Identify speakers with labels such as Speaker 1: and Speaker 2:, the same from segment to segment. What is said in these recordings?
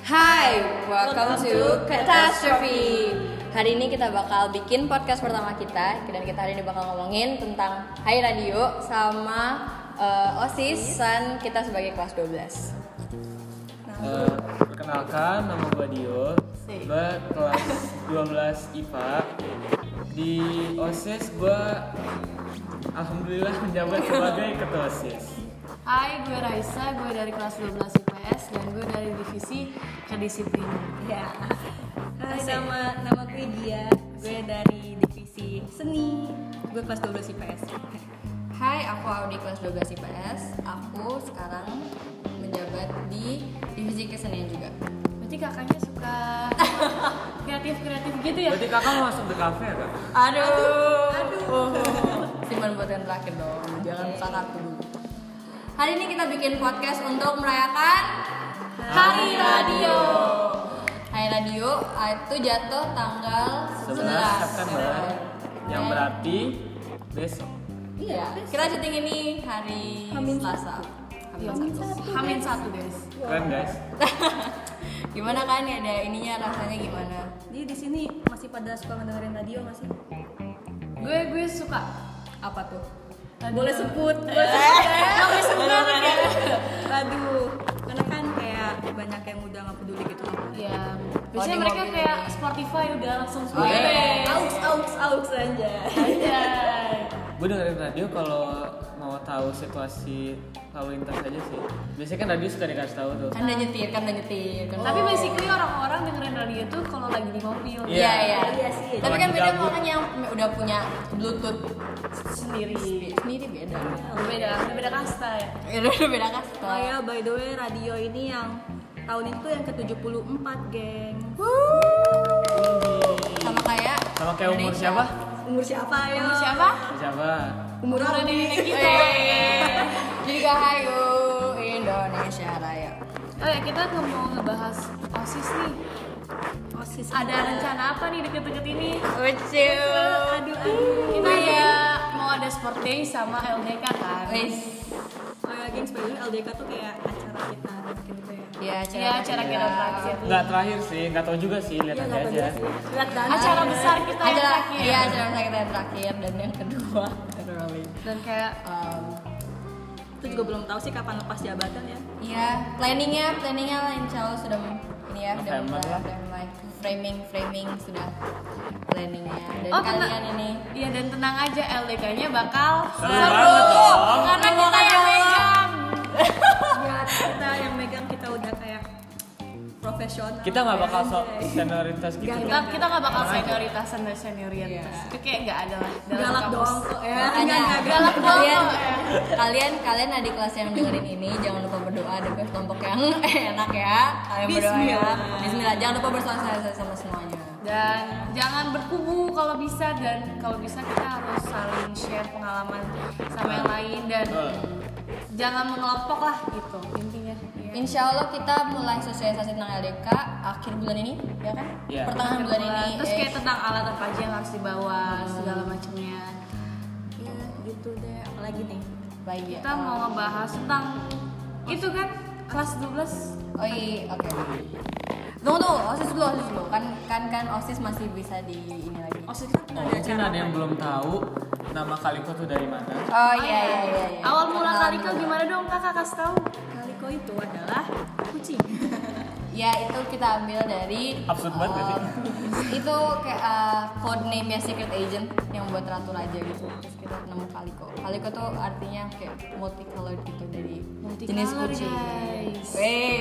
Speaker 1: Hai, welcome to Catastrophe. Hari ini kita bakal bikin podcast pertama kita dan kita hari ini bakal ngomongin tentang Hai Radio sama eh, OSIS dan kita sebagai kelas 12.
Speaker 2: Eh, perkenalkan nama gue Dio gue kelas 12 IPA di OSIS gue alhamdulillah menjabat sebagai ketua OSIS
Speaker 3: Hai, gue Raisa, gue dari kelas 12 IPS dan gue dari divisi kedisiplinan.
Speaker 4: Ya. Hai, nama nama gue Dia. Gue dari divisi seni. Gue kelas 12 IPS.
Speaker 1: Hai, aku Audi kelas 12 IPS. Aku sekarang menjabat di divisi kesenian juga.
Speaker 3: Berarti kakaknya suka kreatif-kreatif gitu ya?
Speaker 2: berarti kakak mau masuk the cafe ya kak?
Speaker 1: Aduh. Simpan buat yang terakhir dong. Jangan buka kartu dulu. Hari ini kita bikin podcast untuk merayakan Hari Radio. Hari Radio uh, itu jatuh tanggal
Speaker 2: 11
Speaker 1: 11.
Speaker 2: September kan, yang
Speaker 1: Dan-
Speaker 2: berarti besok
Speaker 1: Iya. Kita syuting ini hari Selasa. Hamin satu.
Speaker 3: Iya, Hamin satu guys.
Speaker 2: keren guys
Speaker 1: Gimana kan ya ada ininya rasanya gimana?
Speaker 4: Jadi di sini masih pada suka mendengarin radio nggak sih?
Speaker 3: Gue gue suka.
Speaker 1: Apa tuh?
Speaker 4: Boleh sebut.
Speaker 3: Eh.
Speaker 1: Boleh sebut ya.
Speaker 4: Aduh, karena kan kayak banyak yang udah nggak peduli gitu.
Speaker 3: Ya.
Speaker 1: Oh,
Speaker 3: Biasanya
Speaker 1: di
Speaker 3: mereka
Speaker 1: mobil.
Speaker 3: kayak Spotify udah langsung
Speaker 1: Oh,
Speaker 3: semua.
Speaker 1: iya.
Speaker 4: Aux aux aux aja.
Speaker 3: Anjay.
Speaker 2: gue dengerin radio kalau mau tahu situasi lalu lintas aja sih biasanya kan radio suka dikasih tahu tuh
Speaker 1: Kan udah nyetir, kan udah nyetir. Kan
Speaker 3: Tapi basically orang-orang dengerin radio tuh kalau lagi di mobil
Speaker 2: Iya.
Speaker 1: Iya, iya.
Speaker 4: Iya sih.
Speaker 1: Tapi kan
Speaker 2: Kalau
Speaker 1: beda
Speaker 2: digabung.
Speaker 1: orang yang udah punya Bluetooth
Speaker 3: sendiri.
Speaker 1: sendiri beda.
Speaker 3: Beda, beda kasta ya.
Speaker 1: Udah beda kan?
Speaker 4: Oh ya, by the way, radio ini yang tahun itu yang ke-74, geng.
Speaker 1: Sama kayak
Speaker 2: sama kayak umur
Speaker 1: Indonesia.
Speaker 2: siapa?
Speaker 4: Umur siapa ya?
Speaker 3: Umur siapa? gitu.
Speaker 2: umur siapa?
Speaker 4: Umur
Speaker 3: Umur
Speaker 4: aku.
Speaker 3: Indonesia kita.
Speaker 1: Eh, Jadi kahayu Indonesia Raya.
Speaker 3: Oh ya kita nggak mau ngebahas osis nih.
Speaker 4: OSIS.
Speaker 3: Ada rencana apa nih deket-deket ini?
Speaker 1: Lucu.
Speaker 4: Aduh, aduh.
Speaker 3: Kita
Speaker 4: Iya.
Speaker 3: ya mau ada sport day sama LDK kan.
Speaker 1: Wis.
Speaker 4: Oh ya, gengs, by the way, LDK tuh kayak acara kita gitu ya.
Speaker 1: Ya, acara
Speaker 3: Ya acara kita terakhir.
Speaker 2: nggak terakhir sih Iya. nggak tahu juga sih
Speaker 3: Iya,
Speaker 2: lihat nanti Iya, aja
Speaker 4: Lihat dana.
Speaker 3: Acara besar kita yang
Speaker 1: Acara
Speaker 3: terakhir.
Speaker 1: iya acara besar kita yang terakhir dan yang kedua literally.
Speaker 3: Dan kayak
Speaker 1: Um,
Speaker 4: Itu juga belum tahu sih kapan lepas jabatan ya.
Speaker 1: Iya, planningnya, planningnya lah insya Allah sudah ini ya, sudah
Speaker 2: November
Speaker 1: mulai,
Speaker 2: lah.
Speaker 1: sudah mulai. framing, framing sudah planningnya. Dan
Speaker 3: Oh, tenang.
Speaker 1: kalian ini
Speaker 3: Iya dan tenang aja LDK-nya bakal
Speaker 2: Seru banget dong.
Speaker 3: karena kita yang megang.
Speaker 4: Ya, kita yang megang kita udah kayak profesional. Iya,
Speaker 2: kita nggak bakal sok
Speaker 4: Anjay.
Speaker 2: senioritas gitu
Speaker 3: Kita kita nggak bakal senioritasan dan senioritas. Itu kayak nggak ada lah. dalam
Speaker 4: Iya. galak
Speaker 3: kampus.
Speaker 4: doang kok ya.
Speaker 1: Makanya,
Speaker 4: Enggak, enggak.
Speaker 3: galak doang
Speaker 1: kalian,
Speaker 3: kok, ya.
Speaker 1: kalian, kalian adik kelas yang dengerin ini jangan lupa berdoa demi kelompok yang enak ya. Kalian berdoa ya.
Speaker 4: Bismillah.
Speaker 1: Bismillah. Jangan lupa bersosialisasi sama semuanya.
Speaker 3: dan jangan berkubu kalau bisa dan kalau bisa kita harus saling share pengalaman sama yang lain dan
Speaker 2: Eh,
Speaker 3: jangan mengelompok lah gitu intinya Iya.
Speaker 1: Insya Allah kita mulai sosialisasi tentang LDK akhir bulan ini, ya kan?
Speaker 2: Iya.
Speaker 1: Pertengahan bulan ini.
Speaker 3: terus
Speaker 1: eh,
Speaker 3: kayak tentang alat apa aja yang harus dibawa segala macamnya
Speaker 4: Ya, gitu deh. Apalagi nih.
Speaker 1: baik ya.
Speaker 3: kita mau ngebahas tentang itu kan kelas 12
Speaker 1: Oh iya, oke. Tunggu tunggu, osis dulu, osis dulu. Kan kan kan osis masih bisa di ini lagi.
Speaker 3: Oh.
Speaker 4: OSIS kan ada
Speaker 2: mungkin
Speaker 4: acara.
Speaker 2: ada yang belum tahu nama Kaliko tuh dari mana
Speaker 1: Oh iya iya iya. iya.
Speaker 3: awal mula kali kau gimana dong kakak kasih tahu
Speaker 4: Kaliko itu adalah kucing.
Speaker 1: Ya itu kita ambil dari.
Speaker 2: Absurd banget gak sih?
Speaker 1: eh, itu kayak eh, code name nya secret agent yang buat teratur aja gitu. Terus kita nemu kaliko. Kaliko tuh artinya kayak multicolored gitu dari jenis
Speaker 3: Multicolored, ya.
Speaker 1: kucing.
Speaker 3: guys.
Speaker 1: Wey.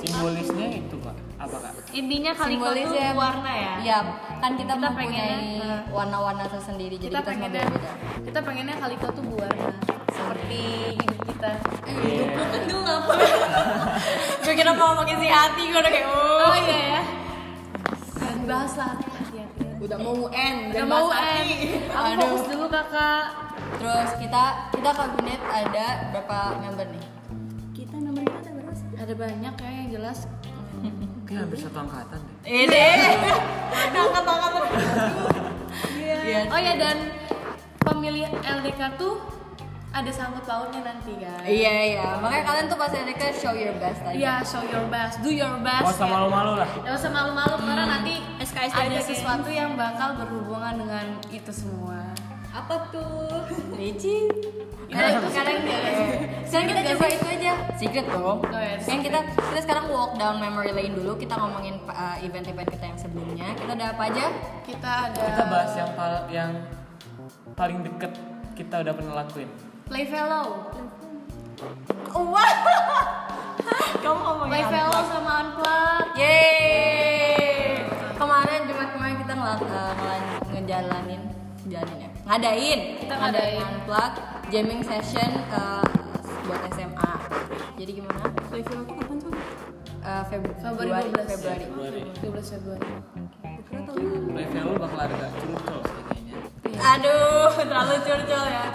Speaker 2: simbolisnya itu pak apa kak
Speaker 3: intinya kali kau
Speaker 1: Simbolis
Speaker 3: tuh
Speaker 1: ya.
Speaker 3: warna ya
Speaker 1: Iya, kan kita,
Speaker 3: Kita
Speaker 1: mempunyai
Speaker 3: pengennya, eh,
Speaker 1: warna-warna tersendiri. Jadi kita,
Speaker 3: kita
Speaker 1: semua
Speaker 3: pengennya
Speaker 1: beda.
Speaker 3: kita pengennya kali kau tuh berwarna seperti hidup kita
Speaker 1: Iya.
Speaker 4: Tenggelam.
Speaker 1: Gue kira mau pakai si hati, gue udah kayak
Speaker 3: Oh iya ya. Dan bahas lah hati-hati.
Speaker 1: udah mau UN
Speaker 3: Udah mau UN. Aku
Speaker 1: Aduh.
Speaker 3: fokus dulu kakak.
Speaker 1: terus kita kita kabinet ada berapa member nih
Speaker 4: Kita nomor kita ada berapa? sih?
Speaker 3: Ada banyak ya yang jelas.
Speaker 2: mungkin hampir satu angkatan deh
Speaker 1: ini
Speaker 4: Tangkap, tangkap.
Speaker 1: iya
Speaker 3: Oh ya dan pemilih LDK tuh ada sangkut pautnya nanti kan.
Speaker 1: Iya iya, makanya kalian tuh pasti anaknya show your best tadi.
Speaker 3: Iya, show your best, do your best.
Speaker 2: Gak usah
Speaker 3: ya.
Speaker 2: malu-malu lah.
Speaker 3: Gak usah malu-malu karena nanti
Speaker 4: SKSD aja
Speaker 3: ada
Speaker 4: kayaknya.
Speaker 3: sesuatu yang bakal berhubungan dengan itu semua.
Speaker 4: Apa tuh?
Speaker 1: Licin.
Speaker 3: Nah,
Speaker 1: Nah,
Speaker 3: itu
Speaker 1: sekarang sekarang kita coba itu aja secret dong.
Speaker 3: Iya, Oh, iya,
Speaker 1: Yang kita kita sekarang walk down memory lane dulu. Kita ngomongin uh, event-event kita yang sebelumnya. Kita ada apa aja?
Speaker 3: Kita ada
Speaker 2: Kita bahas ya. yang pal- yang paling deket kita udah pernah lakuin.
Speaker 3: play fellow.
Speaker 1: Wah. Kamu ngomongin
Speaker 3: Play
Speaker 1: apa?
Speaker 3: fellow sama unplug.
Speaker 1: Yeay. Kemarin Jumat kemarin kita ngelak, eh, ngelan- ngejalanin jalanin ya. Ngadain,
Speaker 3: Kita ngadain.
Speaker 1: unplug jamming session eh, buat SMA. Jadi gimana?
Speaker 4: Play film tuh kapan tuh?
Speaker 1: Eh, Feb-
Speaker 3: Februari
Speaker 1: Februari
Speaker 3: 12.
Speaker 1: Februari.
Speaker 3: 13 Februari.
Speaker 4: Kira tahun ini.
Speaker 2: Level lu bakal ada curcol sih kayaknya.
Speaker 1: Aduh, terlalu curcol ya.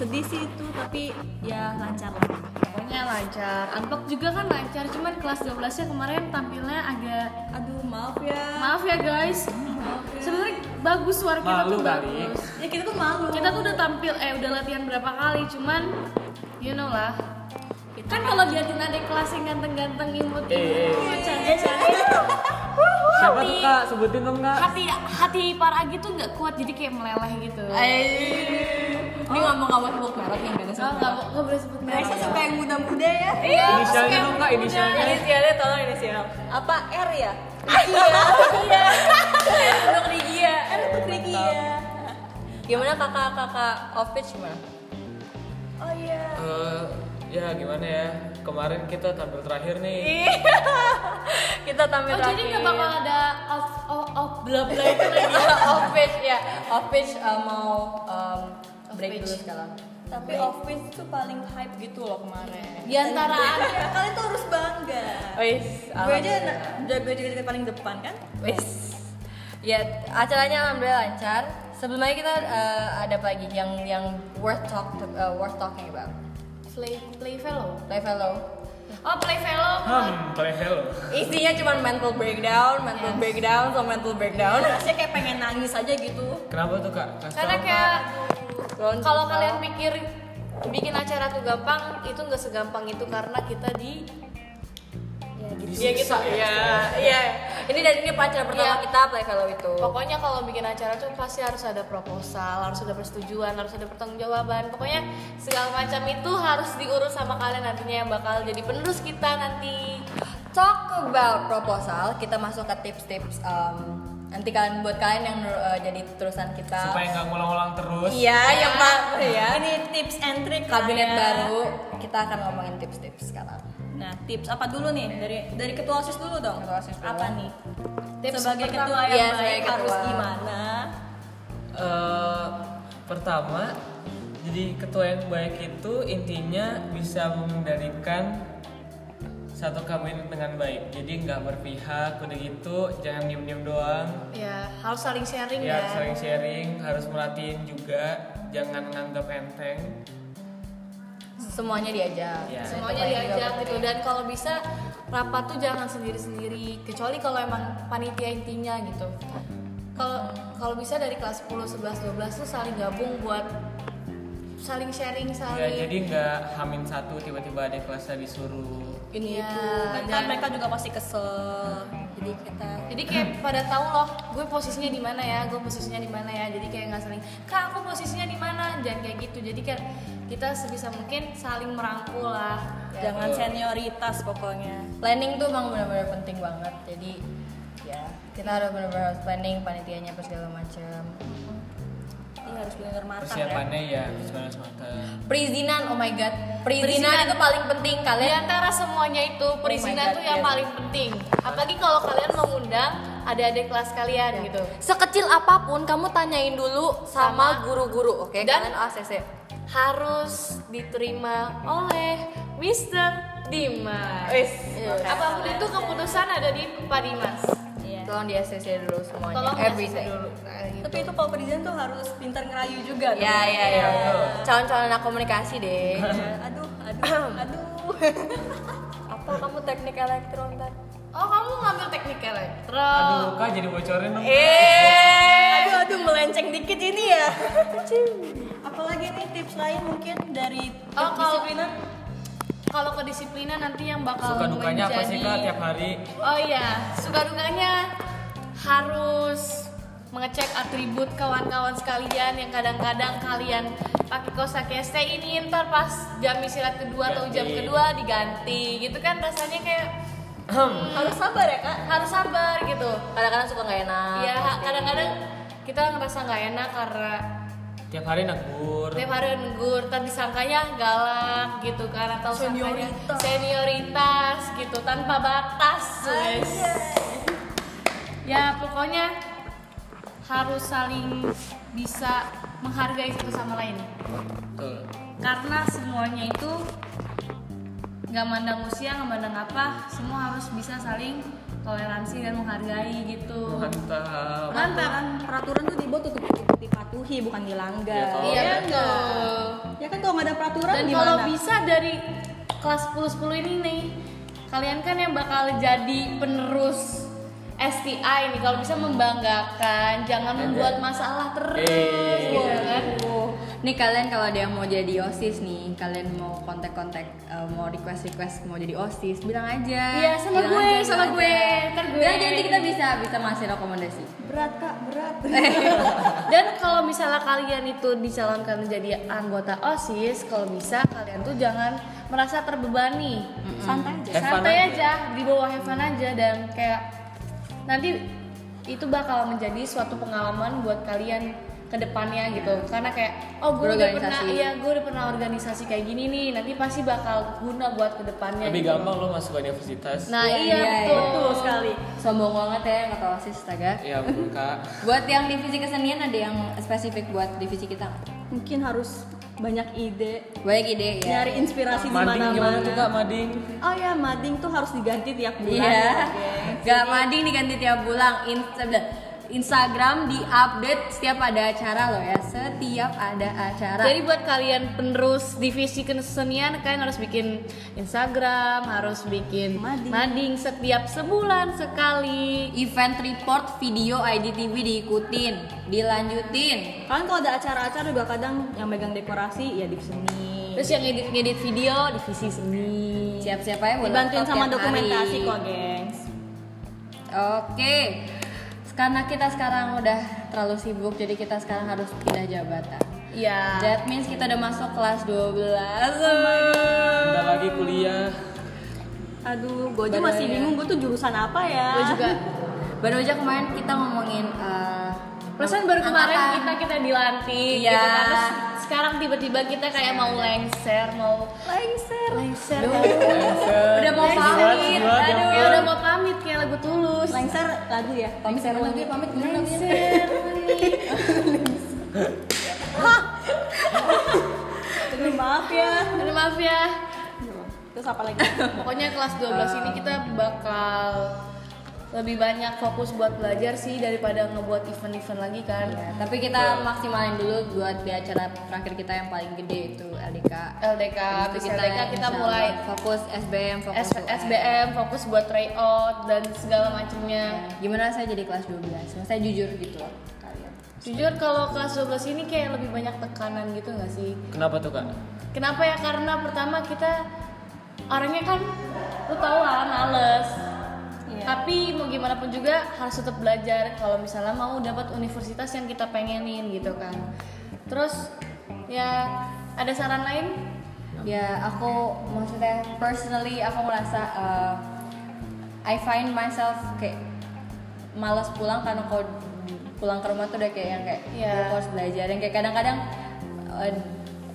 Speaker 4: Sedih sih itu, tapi ya lancar lah.
Speaker 3: Pokoknya lancar. Unplug juga kan lancar, cuman kelas 12-nya kemarin tampilnya agak
Speaker 4: Aduh, maaf ya.
Speaker 3: maaf ya guys. Sebenarnya bagus suara kita
Speaker 2: Malu
Speaker 3: tuh
Speaker 2: kali.
Speaker 3: bagus.
Speaker 4: Ya kita tuh malu.
Speaker 3: Kita tuh udah tampil eh udah latihan berapa kali, cuman you know lah. Kan kalau liatin adik kelas yang oh, ganteng-ganteng imut
Speaker 2: Eh, eh. Siapa tuh kak? Sebutin dong kak.
Speaker 3: hati hati para agi tuh nggak kuat jadi kayak meleleh gitu.
Speaker 1: Eh, Ini ngomong ngomong sebut merek nih, gak ada sebut merek.
Speaker 3: Oh, nggak nggak boleh sebut merek.
Speaker 1: Biasa sampai yang muda-muda ya.
Speaker 3: Iya,
Speaker 2: Inisialnya dong kak, inisialnya.
Speaker 4: Inisialnya tolong inisial. Apa R ya?
Speaker 1: Untuk Rigia.
Speaker 4: R untuk Ricky Eh, ya.
Speaker 1: Gimana kakak-kakak office gimana?
Speaker 4: Oh iya.
Speaker 2: Eh, ya gimana ya? Kemarin kita tampil terakhir nih.
Speaker 1: Kita tampil Nah,
Speaker 3: Oh, jadi nggak bakal ada off off off bla bla itu lagi.
Speaker 1: office ya, office uh, mau um, break dulu sekarang.
Speaker 4: Tapi office tuh paling hype gitu loh kemarin.
Speaker 3: Di antara
Speaker 4: Ya, kalian tuh harus bangga.
Speaker 1: Wis,
Speaker 4: Gue aja na- udah gue juga dari paling depan kan?
Speaker 1: Wis. Ya, acaranya alhamdulillah lancar. Sebelumnya kita uh, ada apa lagi yang yang worth talk uh, worth talking about.
Speaker 3: play play fellow.
Speaker 1: Level low.
Speaker 3: Oh, play fellow.
Speaker 2: Hmm, level.
Speaker 1: Isinya cuma mental breakdown, mental breakdown, so mental breakdown.
Speaker 4: Saya kayak pengen nangis aja gitu.
Speaker 2: Kenapa tuh kak? Kasih
Speaker 3: Karena
Speaker 2: tau, Kak.
Speaker 3: kayak
Speaker 1: Loncat.
Speaker 3: kalau kalian mikir bikin acara tuh gampang, itu nggak segampang itu karena kita di
Speaker 1: Iya gitu. Iya, iya. Ini dari ini pacar pertama
Speaker 3: Iya.
Speaker 1: kita play fellow itu.
Speaker 3: Pokoknya kalau bikin acara tuh pasti harus ada proposal, harus ada persetujuan, harus ada pertanggungjawaban. Pokoknya segala macam itu harus diurus sama kalian nantinya yang bakal jadi penerus kita nanti.
Speaker 1: Talk about proposal, kita masuk ke tips-tips um, nanti kalian buat kalian yang uh, jadi terusan kita.
Speaker 2: supaya nggak ngulang-ulang terus.
Speaker 1: Iya, yang pak ya.
Speaker 4: Ini tips and trick lah
Speaker 1: Kabinet
Speaker 4: ya.
Speaker 1: baru, kita akan ngomongin tips-tips sekarang.
Speaker 4: Nah, tips apa dulu nih dari dari ketua OSIS dulu dong?
Speaker 1: Ketua OSIS dulu.
Speaker 4: Apa nih?
Speaker 3: Tips
Speaker 4: sebagai
Speaker 3: pertama.
Speaker 4: ketua
Speaker 1: Iya,
Speaker 4: yang
Speaker 1: sebagai
Speaker 4: baik harus
Speaker 1: ketua.
Speaker 4: gimana?
Speaker 2: Eh, pertama, jadi ketua yang baik itu intinya bisa mengendalikan satu kabinet dengan baik. Jadi nggak berpihak, udah gitu jangan diem-diem doang.
Speaker 3: Ya, harus saling sharing
Speaker 2: Ya
Speaker 3: ya.
Speaker 2: harus saling sharing, harus melatihin juga, jangan nganggap enteng.
Speaker 1: Semuanya diajak.
Speaker 2: Iya.
Speaker 3: Semuanya diajak gitu dan kalau bisa rapat tuh jangan sendiri-sendiri kecuali kalau emang panitia intinya gitu. Kalau kalau bisa dari kelas 10, 11, 12 tuh saling gabung buat saling sharing,
Speaker 2: Ya,
Speaker 3: saling
Speaker 2: jadi nggak hamin satu tiba-tiba ada kelasnya disuruh.
Speaker 1: Ini
Speaker 3: Iya.
Speaker 1: itu.
Speaker 4: Kan, kan
Speaker 3: dan-
Speaker 4: mereka juga pasti kesel. Jadi kita
Speaker 3: jadi kayak pada tahu loh gue posisinya di mana ya gue posisinya di mana ya jadi kayak nggak saling kak aku posisinya di mana dan kayak gitu jadi kan kita sebisa mungkin saling merangkul lah Ya.
Speaker 4: jangan senioritas pokoknya.
Speaker 1: Planning tuh emang benar-benar penting banget. Jadi ya kita harus benar-benar harus planning panitianya apa segala macam.
Speaker 4: Ini harus benar matang ya.
Speaker 2: Persiapannya ya gimana matang.
Speaker 1: Perizinan, oh my god. Perizinan,
Speaker 3: Perizinan.
Speaker 1: itu paling penting
Speaker 3: di
Speaker 1: kalian.
Speaker 3: antara semuanya itu
Speaker 2: Oh
Speaker 3: perizinan
Speaker 1: God,
Speaker 3: tuh
Speaker 2: iya.
Speaker 3: yang
Speaker 1: yes.
Speaker 3: paling penting apalagi kalau kalian mengundang adik-adik kelas kalian
Speaker 2: Iya.
Speaker 3: gitu
Speaker 1: Sekecil apapun kamu tanyain dulu sama guru-guru, oke?
Speaker 3: Dan-
Speaker 1: Kalian ACC.
Speaker 3: harus diterima oleh Mr. Dimas Iya.
Speaker 1: Wis.
Speaker 3: apapun itu keputusan ada di Pak Dimas
Speaker 4: Iya.
Speaker 1: Tolong di ACC dulu semuanya. Eh,
Speaker 3: tolong
Speaker 1: Everything.
Speaker 3: dulu Nah, gitu.
Speaker 4: Tapi itu kalau perizinan tuh harus pintar ngerayu juga. tuh.
Speaker 3: Iya,
Speaker 1: Ya, ya, ya. Calon-calon anak komunikasi deh.
Speaker 4: Ya, Aduh, aduh, aduh.
Speaker 1: Apa kamu teknik elektro ntar?
Speaker 3: Oh kamu ngambil teknik elektro.
Speaker 2: Aduh kak jadi bocorin dong.
Speaker 1: Eh.
Speaker 4: aduh aduh melenceng dikit ini ya apalagi nih tips lain mungkin dari
Speaker 3: Oh, kalau-
Speaker 4: kedisiplinan?
Speaker 3: Kalau kedisiplinan nanti yang bakal
Speaker 2: Suka dukanya apa sih kak
Speaker 3: menjadi-
Speaker 2: tiap hari?
Speaker 3: Oh iya, suka dukanya harus mengecek atribut kawan-kawan sekalian yang kadang-kadang kalian pakai kosa keste ini ntar pas jam istirahat kedua atau jam
Speaker 2: Ganti.
Speaker 3: kedua diganti gitu kan rasanya kayak
Speaker 4: Harus sabar ya kak.
Speaker 3: harus sabar gitu
Speaker 1: Kadang-kadang suka nggak enak.
Speaker 3: ya kadang-kadang kita ngerasa nggak enak karena
Speaker 2: tiap hari negur.
Speaker 3: tiap hari negur ntar disangkanya galak gitu kan atau sangkanya senioritas gitu tanpa batas guys ya pokoknya harus saling bisa menghargai satu sama lain
Speaker 2: Betul.
Speaker 3: karena semuanya itu nggak mandang usia nggak mandang apa semua harus bisa saling toleransi dan menghargai gitu
Speaker 2: Mantap.
Speaker 4: Peraturan, peraturan tuh dibuat untuk dipatuhi bukan dilanggar.
Speaker 2: Iya,
Speaker 3: iya
Speaker 2: Iya
Speaker 3: betul
Speaker 4: Ya kan kalau nggak ada peraturan
Speaker 3: Dan
Speaker 4: gimana?
Speaker 3: kalau bisa dari kelas 10-10 ini nih, kalian kan yang bakal jadi penerus STI nih. Kalau bisa membanggakan, jangan membuat masalah terus
Speaker 2: Eh.
Speaker 3: gitu kan.
Speaker 1: Nih kalian kalau ada yang mau jadi OSIS nih, kalian mau kontak-kontak eh, mau request-request mau jadi OSIS, bilang aja.
Speaker 3: Iya, sama
Speaker 1: Bilang
Speaker 3: gue,
Speaker 1: aja,
Speaker 3: sama
Speaker 1: bilang
Speaker 3: gue.
Speaker 1: aja.
Speaker 3: Ntar gue.
Speaker 1: Bilang aja, nanti kita bisa bisa ngasih rekomendasi.
Speaker 4: Berat kak, berat.
Speaker 3: Dan kalau misalnya kalian itu dicalonkan menjadi anggota OSIS, kalau bisa kalian tuh jangan merasa terbebani.
Speaker 4: Santai aja.
Speaker 2: Have fun
Speaker 3: Santai
Speaker 2: aja.
Speaker 3: aja, di bawah have fun aja dan kayak nanti itu bakal menjadi suatu pengalaman buat kalian ke
Speaker 2: Iya.
Speaker 3: depannya gitu. Karena kayak oh gue udah pernah
Speaker 1: Berorganisasi.
Speaker 3: iya gue udah pernah organisasi kayak gini nih, nanti pasti bakal guna buat ke depannya.
Speaker 2: Lebih
Speaker 3: gitu.
Speaker 2: gampang lo masuk ke universitas.
Speaker 3: Nah, iya,
Speaker 1: iya,
Speaker 3: betul.
Speaker 4: Betul sekali.
Speaker 1: Sombong banget ya yang kata OSIS astaga.
Speaker 2: Ya ampun kak.
Speaker 1: Buat yang divisi kesenian ada yang spesifik buat divisi kita? nggak?
Speaker 4: Mungkin harus banyak ide,
Speaker 1: Banyak ide ya.
Speaker 4: nyari inspirasi di
Speaker 2: Mading gimana
Speaker 4: mana-mana.
Speaker 2: tuh kak Mading?
Speaker 4: Oh ya, mading tuh harus diganti tiap bulan.
Speaker 1: Iya.
Speaker 4: Oke.
Speaker 1: Gak mading diganti tiap bulan. In- Instagram diupdate setiap ada acara loh ya. Setiap ada acara.
Speaker 3: Jadi buat kalian penerus divisi kesenian kalian harus bikin Instagram, harus bikin
Speaker 4: Mading.
Speaker 3: mading, setiap sebulan sekali.
Speaker 1: event report video IGTV diikutin, dilanjutin.
Speaker 4: Kalian Kan kalau ada acara-acara juga kadang yang megang dekorasi ya di seni.
Speaker 3: Terus yang ngedit-ngedit video divisi seni.
Speaker 1: Siap-siap aja buat
Speaker 4: Dibantuin
Speaker 1: laptop
Speaker 4: sama
Speaker 1: tiap
Speaker 4: dokumentasi
Speaker 1: hari.
Speaker 4: kok, gengs.
Speaker 1: Oke. Karena kita sekarang udah terlalu sibuk, jadi kita sekarang harus pindah jabatan.
Speaker 3: Iya.
Speaker 1: That means kita udah masuk kelas 12.
Speaker 2: Bentar lagi kuliah.
Speaker 4: Aduh, gue aja
Speaker 1: Padahal
Speaker 4: masih
Speaker 1: ya.
Speaker 4: bingung gue tuh jurusan apa ya.
Speaker 3: Gue juga.
Speaker 1: Baru aja kemarin kita ngomongin eh,
Speaker 3: Perasaan baru kemarin
Speaker 1: angkatan.
Speaker 3: kita kita dilantik
Speaker 1: Iya.
Speaker 3: gitu kan. Terus sekarang tiba-tiba kita kayak mau lengser, mau
Speaker 4: lengser.
Speaker 3: lengser.
Speaker 1: Duh,
Speaker 2: Lancer.
Speaker 1: udah mau
Speaker 2: Jiwat,
Speaker 1: pamit.
Speaker 2: jiwat, ya
Speaker 1: Aduh,
Speaker 3: Ya
Speaker 2: ampun.
Speaker 3: udah mau pamit kayak lagu tulus.
Speaker 4: Lengser lagu ya.
Speaker 1: Pamit kemana lagi? Pamit kemana lagi?
Speaker 3: Lengser. manis.
Speaker 4: Aduh, maaf ya.
Speaker 3: Aduh, maaf ya.
Speaker 4: Terus apa lagi?
Speaker 3: Pokoknya kelas 12 ini kita bakal lebih banyak fokus buat belajar sih daripada ngebuat event-event lagi kan.
Speaker 1: Ya, tapi kita maksimalin dulu buat di acara terakhir kita yang paling gede itu LDK.
Speaker 3: LDK,
Speaker 1: Habis
Speaker 3: Eh, habis LDK kita
Speaker 1: insya
Speaker 3: mulai
Speaker 1: Allah fokus SBM, fokus
Speaker 3: S-
Speaker 1: UN.
Speaker 3: SBM, fokus buat tryout dan segala macemnya.
Speaker 1: Gimana saya jadi kelas 12? Maksudnya jujur gitu loh kalian.
Speaker 3: Jujur kalau kelas 12 ini kayak lebih banyak tekanan gitu nggak sih?
Speaker 2: Kenapa tuh kak?
Speaker 3: Kenapa ya? Karena pertama kita orangnya kan lu tau lah males.
Speaker 4: Iya.
Speaker 3: Tapi mau gimana pun juga harus tetap belajar kalau misalnya mau dapat universitas yang kita pengenin gitu kan. Terus ya ada saran lain?
Speaker 1: Ya, aku maksudnya personally aku merasa uh, I find myself kayak malas pulang karena kalau pulang ke rumah tuh udah kayak yang kayak
Speaker 3: Iya.
Speaker 1: "Duh, aku harus belajar yang kayak kadang-kadang uh,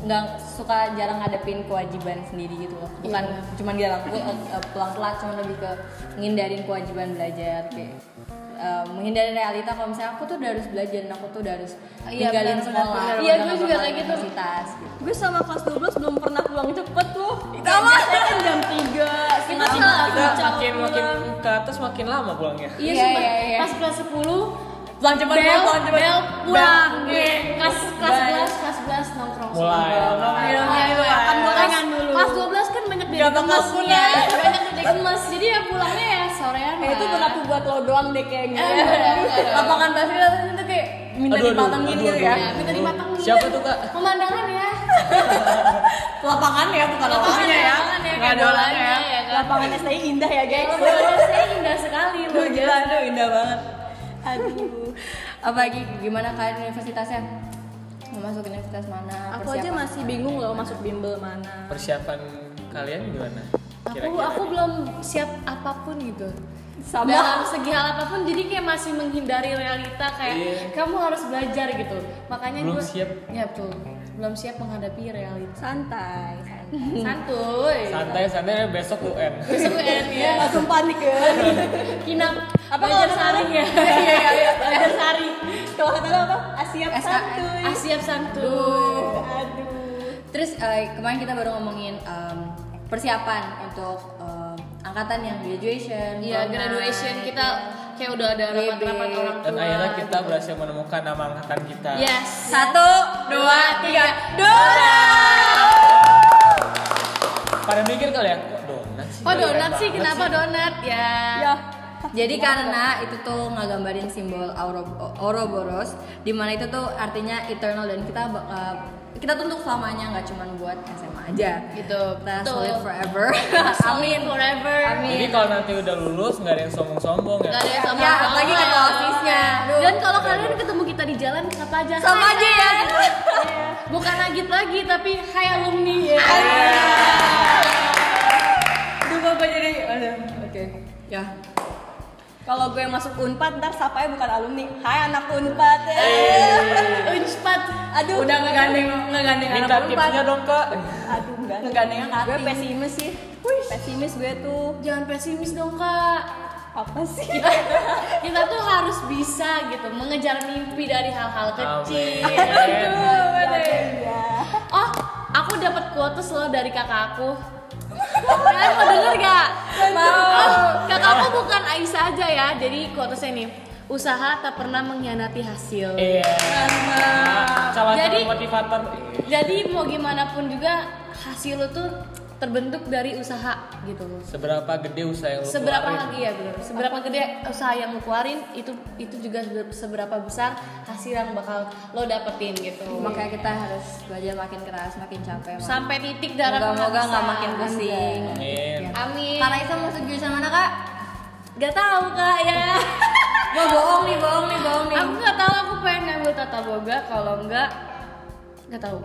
Speaker 1: nggak suka jarang ngadepin kewajiban sendiri gitu loh bukan
Speaker 3: Ya.
Speaker 1: cuman dia laku uh, pulang telat cuman lebih ke ngindarin kewajiban belajar kayak uh, menghindari realita kalau misalnya aku tuh udah harus belajar dan aku tuh udah harus
Speaker 3: Iya,
Speaker 1: ninggalin
Speaker 3: benar, benar,
Speaker 1: sekolah
Speaker 3: benar.
Speaker 1: udah
Speaker 3: Iya,
Speaker 1: nggak
Speaker 3: gue juga
Speaker 1: bakal
Speaker 3: kayak gitu.
Speaker 1: universitas, gitu.
Speaker 4: gue sama kelas 12 belum pernah pulang cepet loh.
Speaker 1: Sama.
Speaker 4: Biasanya kan jam Nah, 3. Kita
Speaker 2: Makin kita
Speaker 4: salah jam
Speaker 2: makin makin
Speaker 4: pulang.
Speaker 2: ke atas makin lama pulangnya.
Speaker 1: Iya,
Speaker 3: sumpah.
Speaker 1: iya, iya.
Speaker 3: Pas kelas 10
Speaker 1: Pulang cepat,
Speaker 3: bel,
Speaker 1: pulang cepat.
Speaker 3: bel pulang.
Speaker 1: Bel.
Speaker 3: Iya, Kelas kelas
Speaker 1: Bye.
Speaker 3: 11, kelas 11 nongkrong. Iya,
Speaker 2: Mulai.
Speaker 3: Ayo, ayo, ayo.
Speaker 4: Makan gorengan
Speaker 3: Kelas-
Speaker 4: dulu.
Speaker 3: Kelas 12 kan banyak dari
Speaker 1: Berapa
Speaker 3: gemes
Speaker 1: kampung, ya?
Speaker 3: ya. Banyak dari gemes. Jadi ya pulangnya ya sorean.
Speaker 4: Eh, itu
Speaker 3: lah.
Speaker 4: berlaku buat lo doang deh kayaknya.
Speaker 3: Eh, enggak, enggak.
Speaker 1: lapangan basket itu kayak minta
Speaker 2: Aduh, aduh,
Speaker 1: dipatengin
Speaker 2: aduh,
Speaker 1: gitu ya
Speaker 3: Ya, minta dipatengin.
Speaker 2: Siapa tuh, Kak?
Speaker 3: Pemandangan ya.
Speaker 1: ya, bukan orangnya ya.
Speaker 3: Lapangan lapangan ya,
Speaker 1: Nggak ada orangnya ya.
Speaker 3: ya kan. Iya,
Speaker 4: Lapangannya saya indah ya guys.
Speaker 1: Lapangan saya indah sekali
Speaker 4: Aduh,
Speaker 1: luar
Speaker 4: gila,
Speaker 1: biasa.
Speaker 4: aduh indah banget.
Speaker 1: Aduh. Apalagi gimana kalian universitasnya? Mau masuk universitas mana?
Speaker 4: Aku aja
Speaker 1: Persiapan?
Speaker 4: masih bingung loh masuk bimbel mana.
Speaker 2: Persiapan kalian gimana?
Speaker 3: Aku aku belum siap apapun gitu.
Speaker 1: Sama.
Speaker 3: Dalam segi hal apapun jadi kayak masih menghindari realita kayak
Speaker 2: Iya.
Speaker 3: kamu harus belajar gitu. Makanya
Speaker 2: Belum
Speaker 3: gua-
Speaker 2: siap.
Speaker 3: Ya betul. Belum siap menghadapi realita.
Speaker 4: Santai, santai.
Speaker 2: Hmm.
Speaker 3: Santuy.
Speaker 2: Santai-santai besok UN.
Speaker 3: Besok UN ya.
Speaker 4: Iya, Langsung panik ya.
Speaker 3: Kinap.
Speaker 4: Apa
Speaker 3: belajar
Speaker 4: kalau
Speaker 3: saring ya? Iya iya. Belajar sari.
Speaker 4: Kalau kata lo apa? Asiap
Speaker 1: SKS.
Speaker 4: santuy.
Speaker 3: Ah, siap santuy.
Speaker 1: Aduh.
Speaker 4: Aduh.
Speaker 1: Terus eh, kemarin kita baru ngomongin em, persiapan untuk em, angkatan yang graduation.
Speaker 3: Iya
Speaker 1: prom
Speaker 3: graduation
Speaker 1: night.
Speaker 3: kita kayak udah ada rapat-rapat
Speaker 1: Bebek.
Speaker 3: orang tua.
Speaker 2: Dan akhirnya kita berhasil menemukan nama angkatan kita.
Speaker 3: Yes.
Speaker 1: Satu, dua, tiga, Dora.
Speaker 2: Pada mikir kali ya, kok donat sih?
Speaker 3: Oh
Speaker 2: Keren
Speaker 3: donat sih
Speaker 2: banget
Speaker 3: kenapa donat ya?
Speaker 1: Jadi karena itu tuh ngegambarin simbol Auro- Ouroboros, dimana itu tuh artinya eternal dan kita bak- eh, kita tuntut selamanya nggak cuma buat SMA aja.
Speaker 3: Gitu.
Speaker 1: Kita
Speaker 3: betul.
Speaker 1: solid forever.
Speaker 3: Amin forever.
Speaker 1: Amin.
Speaker 2: Jadi kalau nanti udah lulus nggak ada yang sombong-sombong ya.
Speaker 3: Gak ada yang sama
Speaker 1: Ya, apalagi kata ofisnya. Aduh.
Speaker 3: Dan kalau kalian ketemu kita di jalan sapa aja.
Speaker 1: Sama
Speaker 3: "Hai,
Speaker 1: aja ya.
Speaker 3: Nat." Bukan agit lagi tapi hai alumni.
Speaker 4: Aduh bapak jadi. Aduh. Oke.
Speaker 1: Ya.
Speaker 4: Kalau gue masuk Unpad ntar sapanya bukan alumni. Hai anak Unpad. Eh.
Speaker 3: Unpad.
Speaker 4: Aduh.
Speaker 1: Udah ngegandeng ngegandeng
Speaker 2: Minta tipsnya dong kak.
Speaker 4: Aduh enggak. Ngegandengnya
Speaker 1: Ngegandeng
Speaker 4: Gue
Speaker 1: hati.
Speaker 4: pesimis sih. Pesimis gue tuh.
Speaker 3: Jangan pesimis dong kak.
Speaker 4: Apa sih?
Speaker 3: Kita tuh harus bisa gitu mengejar mimpi dari hal-hal kecil.
Speaker 2: Amin.
Speaker 3: Oh, aku dapat quotes loh dari kakak aku. Kalian mau denger gak? Oh, kakak aku bukan Aisyah aja ya, jadi quotesnya nih. Usaha tak pernah mengkhianati hasil.
Speaker 2: Iya. Salah satu
Speaker 3: Jadi-
Speaker 2: motivator.
Speaker 3: Jadi mau gimana pun juga hasil lu tuh terbentuk dari usaha gitu loh.
Speaker 2: Seberapa gede usaha yang lu
Speaker 3: Seberapa
Speaker 2: keluarin?
Speaker 3: lagi ya bener. Seberapa gede usaha yang lu keluarin itu itu juga seberapa besar hasil yang bakal lo dapetin gitu.
Speaker 1: Makanya kita harus belajar makin keras, makin capek. Mak.
Speaker 3: Sampai titik darah
Speaker 1: Moga-moga nggak
Speaker 3: penghabisan.
Speaker 1: makin pusing.
Speaker 2: Amin.
Speaker 3: Amin.
Speaker 1: Karena itu masuk jurusan mana kak?
Speaker 3: Gak tahu kak ya.
Speaker 1: Wah bohong nih, bohong nih, bohong nih.
Speaker 3: aku nggak tahu aku pengen ngambil tata boga kalau enggak nggak tahu.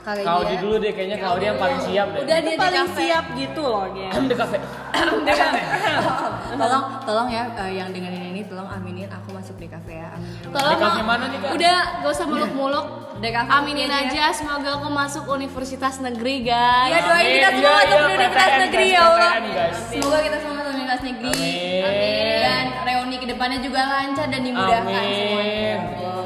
Speaker 1: Kagak
Speaker 2: Kau
Speaker 1: dia.
Speaker 2: di dulu deh kayaknya kau dia yang paling siap deh.
Speaker 3: Udah
Speaker 4: Dia
Speaker 3: dia di
Speaker 4: paling
Speaker 3: kafe.
Speaker 4: siap gitu loh, Gen.
Speaker 2: di kafe.
Speaker 1: Tolong, tolong ya eh, yang dengerin ini tolong aminin aku masuk di kafe ya. Aminin.
Speaker 3: Tolong
Speaker 2: Di kafe
Speaker 3: Mak.
Speaker 2: mana nih, Kak? Iya.
Speaker 3: Udah gak usah muluk-muluk.
Speaker 1: Di kafe
Speaker 3: Aminin
Speaker 1: mungkin
Speaker 3: aja semoga aku masuk universitas negeri guys.
Speaker 1: Iya doain kita
Speaker 2: Amin.
Speaker 1: semua
Speaker 2: Iya,
Speaker 1: masuk
Speaker 2: iya,
Speaker 1: universitas
Speaker 2: PTN,
Speaker 1: negeri
Speaker 2: guys,
Speaker 1: ya Allah.
Speaker 2: PTN, guys.
Speaker 1: Semoga kita semua masuk universitas negeri.
Speaker 2: Amin.
Speaker 1: Dan reuni kedepannya juga lancar dan dimudahkan semuanya.
Speaker 2: Amin.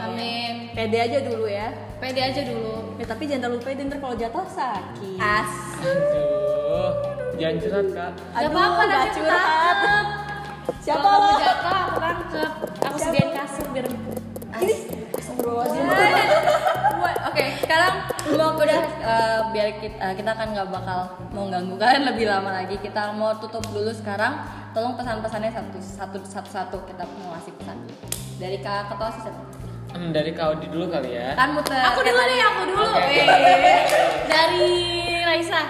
Speaker 3: Amin.
Speaker 4: Pede aja dulu ya.
Speaker 3: Pede aja dulu.
Speaker 4: Ya, tapi jangan terlalu pede ntar kalau jatuh sakit.
Speaker 1: As.
Speaker 2: Aduh. Jangan curhat kak.
Speaker 3: Gak apa-apa
Speaker 4: gak
Speaker 3: nanti aku
Speaker 4: curhat.
Speaker 3: tangkep.
Speaker 4: Siapa
Speaker 3: Kalau
Speaker 4: lo?
Speaker 3: kamu jatuh aku tangkep. Aku
Speaker 4: Siapa?
Speaker 3: sediain kasur biar
Speaker 4: Ih, Astagfirullahaladzim.
Speaker 1: Buat- Oke, sekarang mau udah eh, biar kita eh, kita kan nggak bakal mau ganggu kalian lebih lama lagi. Kita mau tutup dulu sekarang. Tolong pesan-pesannya satu satu satu satu kita mau ngasih pesan dari kak ketua sistem.
Speaker 2: Hmm, dari kau di dulu kali ya.
Speaker 1: Kan muter.
Speaker 3: Aku dulu deh, aku dulu.
Speaker 2: Oke.
Speaker 3: Eh, Dari Raisa.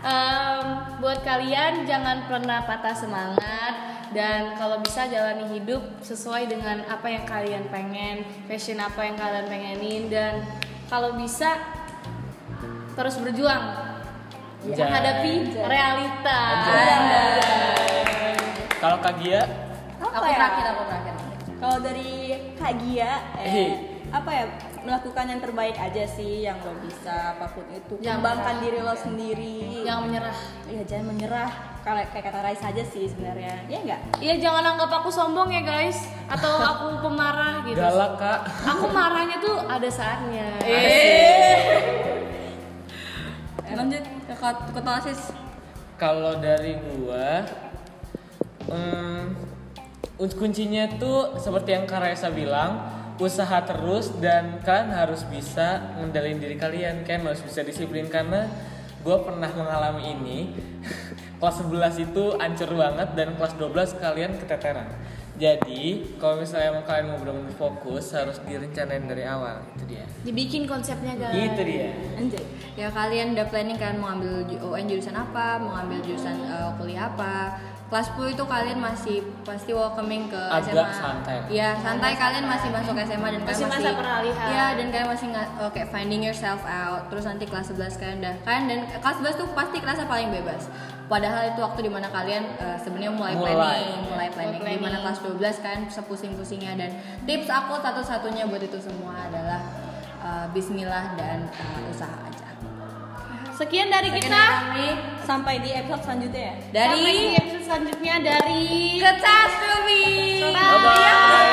Speaker 3: Em, buat kalian jangan pernah patah semangat dan kalau bisa jalani hidup sesuai dengan apa yang kalian pengen, passion apa yang kalian pengenin dan kalau bisa terus berjuang
Speaker 2: Anjay.
Speaker 3: menghadapi realita.
Speaker 2: Kalau kak Gia,
Speaker 1: Aku terakhir, aku terakhir.
Speaker 4: ya? Kalau dari Kak Gia,
Speaker 2: Hei.
Speaker 4: eh, apa ya melakukan yang terbaik aja sih yang lo bisa apapun itu.
Speaker 3: Jangan
Speaker 4: Kembangkan diri lo sendiri.
Speaker 3: Jangan menyerah.
Speaker 4: Ya jangan menyerah. Kalau kayak kata Rais aja sih sebenarnya. Iya enggak?
Speaker 3: Iya jangan anggap aku sombong ya guys atau aku pemarah gitu.
Speaker 2: galak kak.
Speaker 3: Aku marahnya tuh ada saatnya.
Speaker 1: Iya. Eh. Lanjut ke Kak- ketua sis.
Speaker 2: Kalau dari gua, em, un- kuncinya tuh seperti yang Kak Raisa bilang, usaha terus dan kalian harus bisa ngendalin diri kalian, kalian harus bisa disiplin karena gua pernah mengalami ini. kelas 11 itu ancur banget dan kelas 12 kalian keteteran. Jadi, kalau misalnya emang kalian mau benar-benar fokus, harus direncanain dari awal. Itu dia.
Speaker 3: Dibikin konsepnya guys.
Speaker 2: Itu dia.
Speaker 4: Anjay.
Speaker 1: ya kalian udah planning kan mau ambil ju- UN jurusan apa mau ambil jurusan eh, kuliah apa kelas 10 itu kalian masih pasti welcoming ke SMA
Speaker 2: Agak santai.
Speaker 1: ya santai kalian masih masuk SMA dan kalian
Speaker 3: Masih masa peralihan.
Speaker 1: Iya, dan kalian masih nggak oke finding yourself out terus nanti kelas 11 kalian udah kan dan kelas 11 tuh pasti kerasa paling bebas padahal itu waktu dimana kalian eh, sebenarnya mulai,
Speaker 2: Mulai.
Speaker 1: planning mulai planning,
Speaker 3: planning.
Speaker 1: dimana kelas 12 kan sepusing-pusingnya dan tips aku satu-satunya buat itu semua adalah eh, bismillah dan eh, usaha aja
Speaker 5: Sekian dari
Speaker 1: Sekian
Speaker 5: kita.
Speaker 1: dari kami,
Speaker 4: Sampai di episode selanjutnya ya.
Speaker 5: Sampai di
Speaker 1: dari
Speaker 5: episode selanjutnya dari
Speaker 1: Kertas Ruby
Speaker 5: Bye.
Speaker 2: Bye.